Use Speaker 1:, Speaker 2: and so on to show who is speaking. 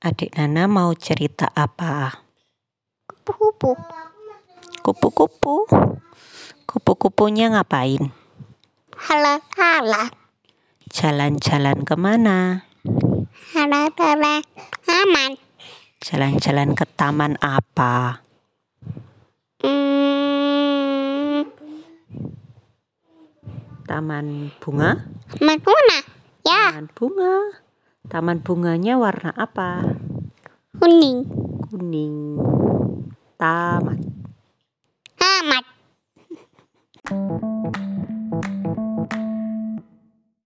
Speaker 1: Adik Nana mau cerita apa?
Speaker 2: Kupu-kupu.
Speaker 1: Kupu-kupu. Kupu-kupunya ngapain?
Speaker 2: Hala-hala.
Speaker 1: Jalan-jalan kemana?
Speaker 2: Hala-hala. Aman.
Speaker 1: Jalan-jalan ke taman apa?
Speaker 2: Hmm.
Speaker 1: Taman bunga?
Speaker 2: Makuna. Ya.
Speaker 1: Taman bunga. Taman bunganya warna apa?
Speaker 2: Kuning.
Speaker 1: Kuning. Taman.
Speaker 2: Aman.